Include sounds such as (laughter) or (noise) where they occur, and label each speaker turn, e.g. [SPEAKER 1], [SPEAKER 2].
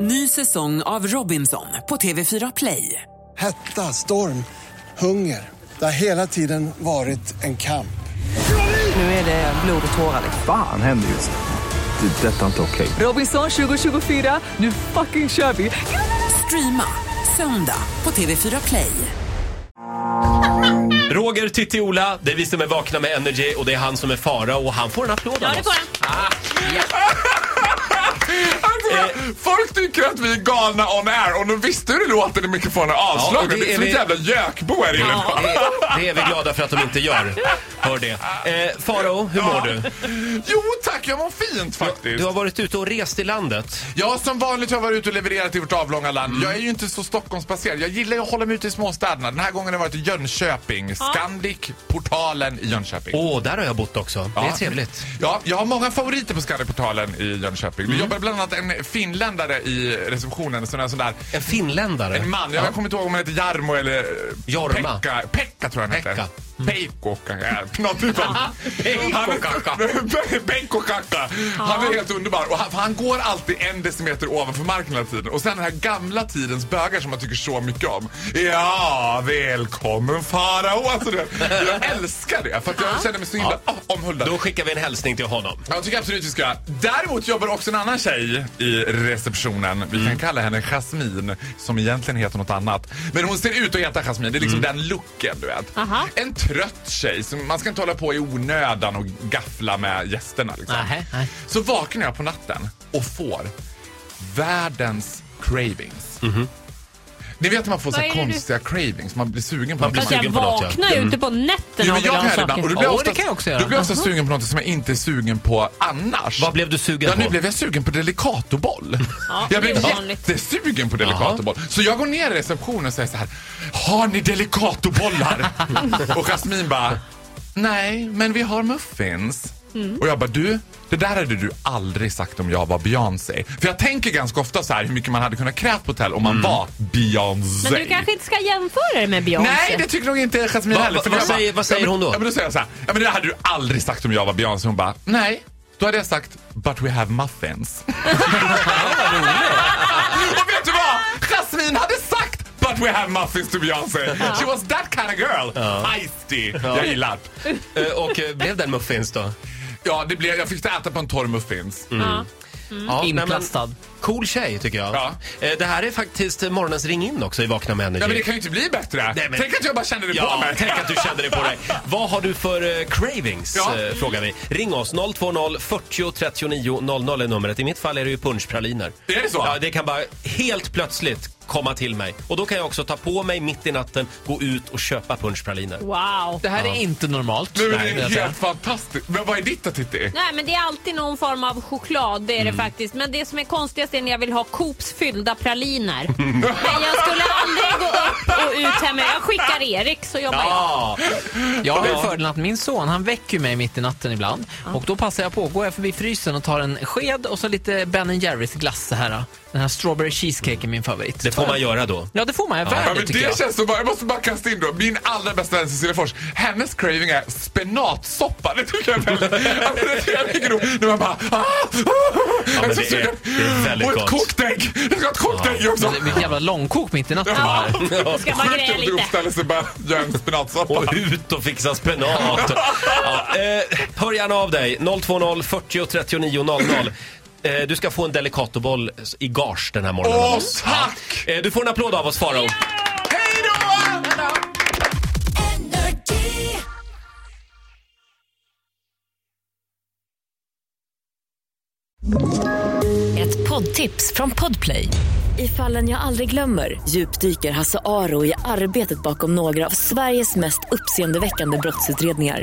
[SPEAKER 1] Ny säsong av Robinson på TV4 Play.
[SPEAKER 2] Hetta, storm, hunger. Det har hela tiden varit en kamp.
[SPEAKER 1] Nu är det blod och tårar.
[SPEAKER 3] Fan händer just nu. Det. är Detta är inte okej.
[SPEAKER 1] Robinson 2024, nu fucking kör vi! Streama söndag på TV4 Play.
[SPEAKER 4] Roger, Titti, Ola, det är vi som är vakna med Energy och det är han som är fara och han får en applåd av
[SPEAKER 5] Ja, det får
[SPEAKER 4] oss.
[SPEAKER 5] han.
[SPEAKER 6] Folk tycker att vi är galna on air och nu visste hur det låter när mikrofonen är
[SPEAKER 4] Ja, och
[SPEAKER 6] avslagen.
[SPEAKER 4] det
[SPEAKER 6] det
[SPEAKER 4] är
[SPEAKER 6] är som
[SPEAKER 4] vi-
[SPEAKER 6] ett jävla gökbo här inne.
[SPEAKER 4] Ja, det, det är vi glada för att de inte gör. Hör det. Eh, Faro, hur mår du?
[SPEAKER 6] (laughs) Jo tack, jag mår fint faktiskt.
[SPEAKER 4] Du har varit ute och rest i landet.
[SPEAKER 6] Ja, som vanligt har jag varit ute och levererat i vårt avlånga land.
[SPEAKER 4] Mm.
[SPEAKER 6] Jag är ju inte så Stockholmsbaserad. Jag gillar ju att hålla mig ute i småstäderna. Den här gången har jag varit i Jönköping. Scandic, Portalen i Jönköping.
[SPEAKER 4] Åh, där har jag bott också. Det är
[SPEAKER 6] Ja.
[SPEAKER 4] trevligt. Mm.
[SPEAKER 6] Ja, jag har många favoriter på Scandic-portalen i Jönköping. Vi jobbar bland annat en finländare i receptionen. Sån där, sån där
[SPEAKER 4] En finländare.
[SPEAKER 6] En man, jag kommer inte ihåg om han heter Jarmo eller eh,
[SPEAKER 4] Jorma.
[SPEAKER 6] Pekka, Pekka tror jag han heter.
[SPEAKER 4] Pekka. Mm.
[SPEAKER 6] Peikko kanske. Något typ av...
[SPEAKER 4] Peikkokakka.
[SPEAKER 6] (laughs) Peikkokakka. Han är helt underbar. Och han, för han går alltid en decimeter ovanför marken hela tiden. Och sen den här gamla tidens bögar som man tycker så mycket om. Ja, välkommen farao. Alltså, du vet, jag älskar det. För att jag känner mig så himla ah, omhuldad.
[SPEAKER 4] Då skickar vi en hälsning till honom.
[SPEAKER 6] Jag tycker absolut vi ska. göra. Däremot jobbar också en annan tjej i receptionen. Vi kan kalla henne Jasmine, som egentligen heter något annat. Men hon ser ut att heta Jasmine. Det är liksom den looken, du vet.
[SPEAKER 5] Aha.
[SPEAKER 6] En trött tjej. Som man ska inte hålla på i onödan och gaffla med gästerna. Liksom.
[SPEAKER 4] Nähä, nej.
[SPEAKER 6] Så vaknar jag på natten och får världens cravings. Ni vet att man får så här
[SPEAKER 5] Vad är det du-
[SPEAKER 6] konstiga cravings. Man blir sugen på
[SPEAKER 4] Man
[SPEAKER 6] något.
[SPEAKER 4] blir
[SPEAKER 5] Fast jag
[SPEAKER 4] sugen på något, ja.
[SPEAKER 5] vaknar ju ute på nätterna
[SPEAKER 6] Mm. Jo, men
[SPEAKER 5] och
[SPEAKER 6] jag
[SPEAKER 5] vill
[SPEAKER 6] kan
[SPEAKER 5] ha
[SPEAKER 6] göra det ibland. Och då
[SPEAKER 5] saker.
[SPEAKER 6] blir jag
[SPEAKER 4] Ja,
[SPEAKER 6] oftast,
[SPEAKER 4] det kan jag också göra.
[SPEAKER 6] Då blir jag oftast sugen på något som jag inte är sugen på annars.
[SPEAKER 4] Vad blev du sugen
[SPEAKER 6] ja,
[SPEAKER 4] på?
[SPEAKER 6] nu blev jag sugen på delicatoboll.
[SPEAKER 5] Ja,
[SPEAKER 6] jag
[SPEAKER 5] det är
[SPEAKER 6] blev
[SPEAKER 5] ovanligt.
[SPEAKER 6] jättesugen på delicatoboll. Så jag går ner i receptionen och säger så här. Har ni
[SPEAKER 5] (laughs)
[SPEAKER 6] delicatobollar? och Jasmin bara. Nej, men vi har muffins.
[SPEAKER 5] Mm.
[SPEAKER 6] Och jag bara, du, det där hade du aldrig sagt om jag var Beyoncé. För jag tänker ganska ofta så här hur mycket man hade kunnat krävt på hotell om man var Beyoncé.
[SPEAKER 5] Mm. Men du kanske inte ska jämföra det med Beyoncé?
[SPEAKER 6] Nej, det tycker nog inte Jasmine
[SPEAKER 4] Va-
[SPEAKER 6] heller.
[SPEAKER 4] va-
[SPEAKER 6] för
[SPEAKER 4] vad
[SPEAKER 6] jag bara-
[SPEAKER 4] säger- vad säger
[SPEAKER 6] ja, men,
[SPEAKER 4] hon då?
[SPEAKER 6] Ja, men då säger jag så här, ja, men det hade du aldrig sagt om jag var Beyoncé. Hon bara, nej. Då hade jag sagt, but we
[SPEAKER 4] (laughs)
[SPEAKER 6] have muffins. Och vet du vad? Jasmine hade sagt, but we have muffins to Beyoncé. She was that kind of girl. Feisty. Jag gillar det.
[SPEAKER 4] Eh, Och eh, blev den muffins
[SPEAKER 5] Mm.
[SPEAKER 4] då?
[SPEAKER 6] Ja, det blev, jag fick äta på en torr muffins.
[SPEAKER 4] Mm.
[SPEAKER 5] Ja.
[SPEAKER 4] Ja, nej, men-
[SPEAKER 7] Inplastad.
[SPEAKER 4] Cool tjej, tycker jag.
[SPEAKER 6] Ja.
[SPEAKER 4] Eh, Det här är faktiskt eh, morgonens ring-in också i Vakna med Energy.
[SPEAKER 6] Ja, men det kan ju inte bli bättre.
[SPEAKER 4] Nej, men-
[SPEAKER 6] Tänk att jag bara kände det på
[SPEAKER 4] Ja,
[SPEAKER 6] mig.
[SPEAKER 4] tänk att du kände det på
[SPEAKER 6] (laughs)
[SPEAKER 4] dig. Vad har du för eh, cravings?
[SPEAKER 6] Ja.
[SPEAKER 4] Eh, frågar vi. Ring oss, 020 40 39 00 är numret. I mitt fall är det ju punschpraliner.
[SPEAKER 6] Är det så?
[SPEAKER 4] Ja, det kan bara helt plötsligt komma till mig. Och då kan jag också ta på mig mitt i natten, gå ut och köpa punschpraliner.
[SPEAKER 5] Wow.
[SPEAKER 7] Det här är inte normalt.
[SPEAKER 6] Nu är
[SPEAKER 7] Nej,
[SPEAKER 6] det
[SPEAKER 7] jag säger.
[SPEAKER 6] helt fantastiskt. Men vad är ditt
[SPEAKER 4] (laughs)
[SPEAKER 6] då, Titti?
[SPEAKER 5] Nej men det är alltid någon form av choklad, det är
[SPEAKER 6] Mm.
[SPEAKER 5] det faktiskt. Men det som är konstigast är när jag vill ha Coops fyllda
[SPEAKER 6] (laughs)
[SPEAKER 5] praliner. Men jag skulle aldrig gå upp och ut hemma. Jag skickar Erik så jobbar jag.
[SPEAKER 4] Ja,
[SPEAKER 7] Jag har ju fördelen att min son han väcker mig mitt i natten ibland. Och då passar jag på, går jag förbi frysen och tar en sked och så lite Ben Jerrys glass så här. Den här strawberry cheesecake är min favorit.
[SPEAKER 4] det får man göra då.
[SPEAKER 7] Ja, det får man. Jag är
[SPEAKER 6] Ja,
[SPEAKER 7] värd det
[SPEAKER 6] men
[SPEAKER 7] tycker jag.
[SPEAKER 6] det känns så bara, jag måste bara kasta in då. Min allra bästa vän Cecilia Fors, hennes craving är spenatsoppa. Det tycker jag är väldigt... alltså, det tycker jag är mycket roligt. När man bara... Ah, ah, jag
[SPEAKER 4] men
[SPEAKER 6] är (laughs) så
[SPEAKER 4] det är-
[SPEAKER 6] sugen.
[SPEAKER 4] det är väldigt
[SPEAKER 6] Och
[SPEAKER 4] gott. (laughs)
[SPEAKER 6] ett kokt ägg! Jag ska ha ett kokt ägg också!
[SPEAKER 7] Men det blir ett jävla långkok mitt i natten.
[SPEAKER 5] Ja.
[SPEAKER 7] Här.
[SPEAKER 5] Jag ska bara
[SPEAKER 6] Sjukt
[SPEAKER 5] greja
[SPEAKER 6] om du
[SPEAKER 5] lite.
[SPEAKER 6] uppställer sig och bara gör
[SPEAKER 4] (laughs)
[SPEAKER 6] en spenatsoppa.
[SPEAKER 4] Och ut och fixa
[SPEAKER 6] (laughs)
[SPEAKER 4] spenat. Ja, eh, hör gärna av dig. 020 40 39 00. Eh, du ska få en delicatoboll i gage den här morgonen. av
[SPEAKER 6] Åh,
[SPEAKER 4] oss.
[SPEAKER 6] tack!
[SPEAKER 4] Eh, du får en applåd av oss, Farao.
[SPEAKER 6] Hej då!
[SPEAKER 8] Ett poddtips från Podplay. I fallen jag aldrig glömmer djupdyker Hasse Aro i arbetet bakom några av Sveriges mest uppseendeväckande brottsutredningar.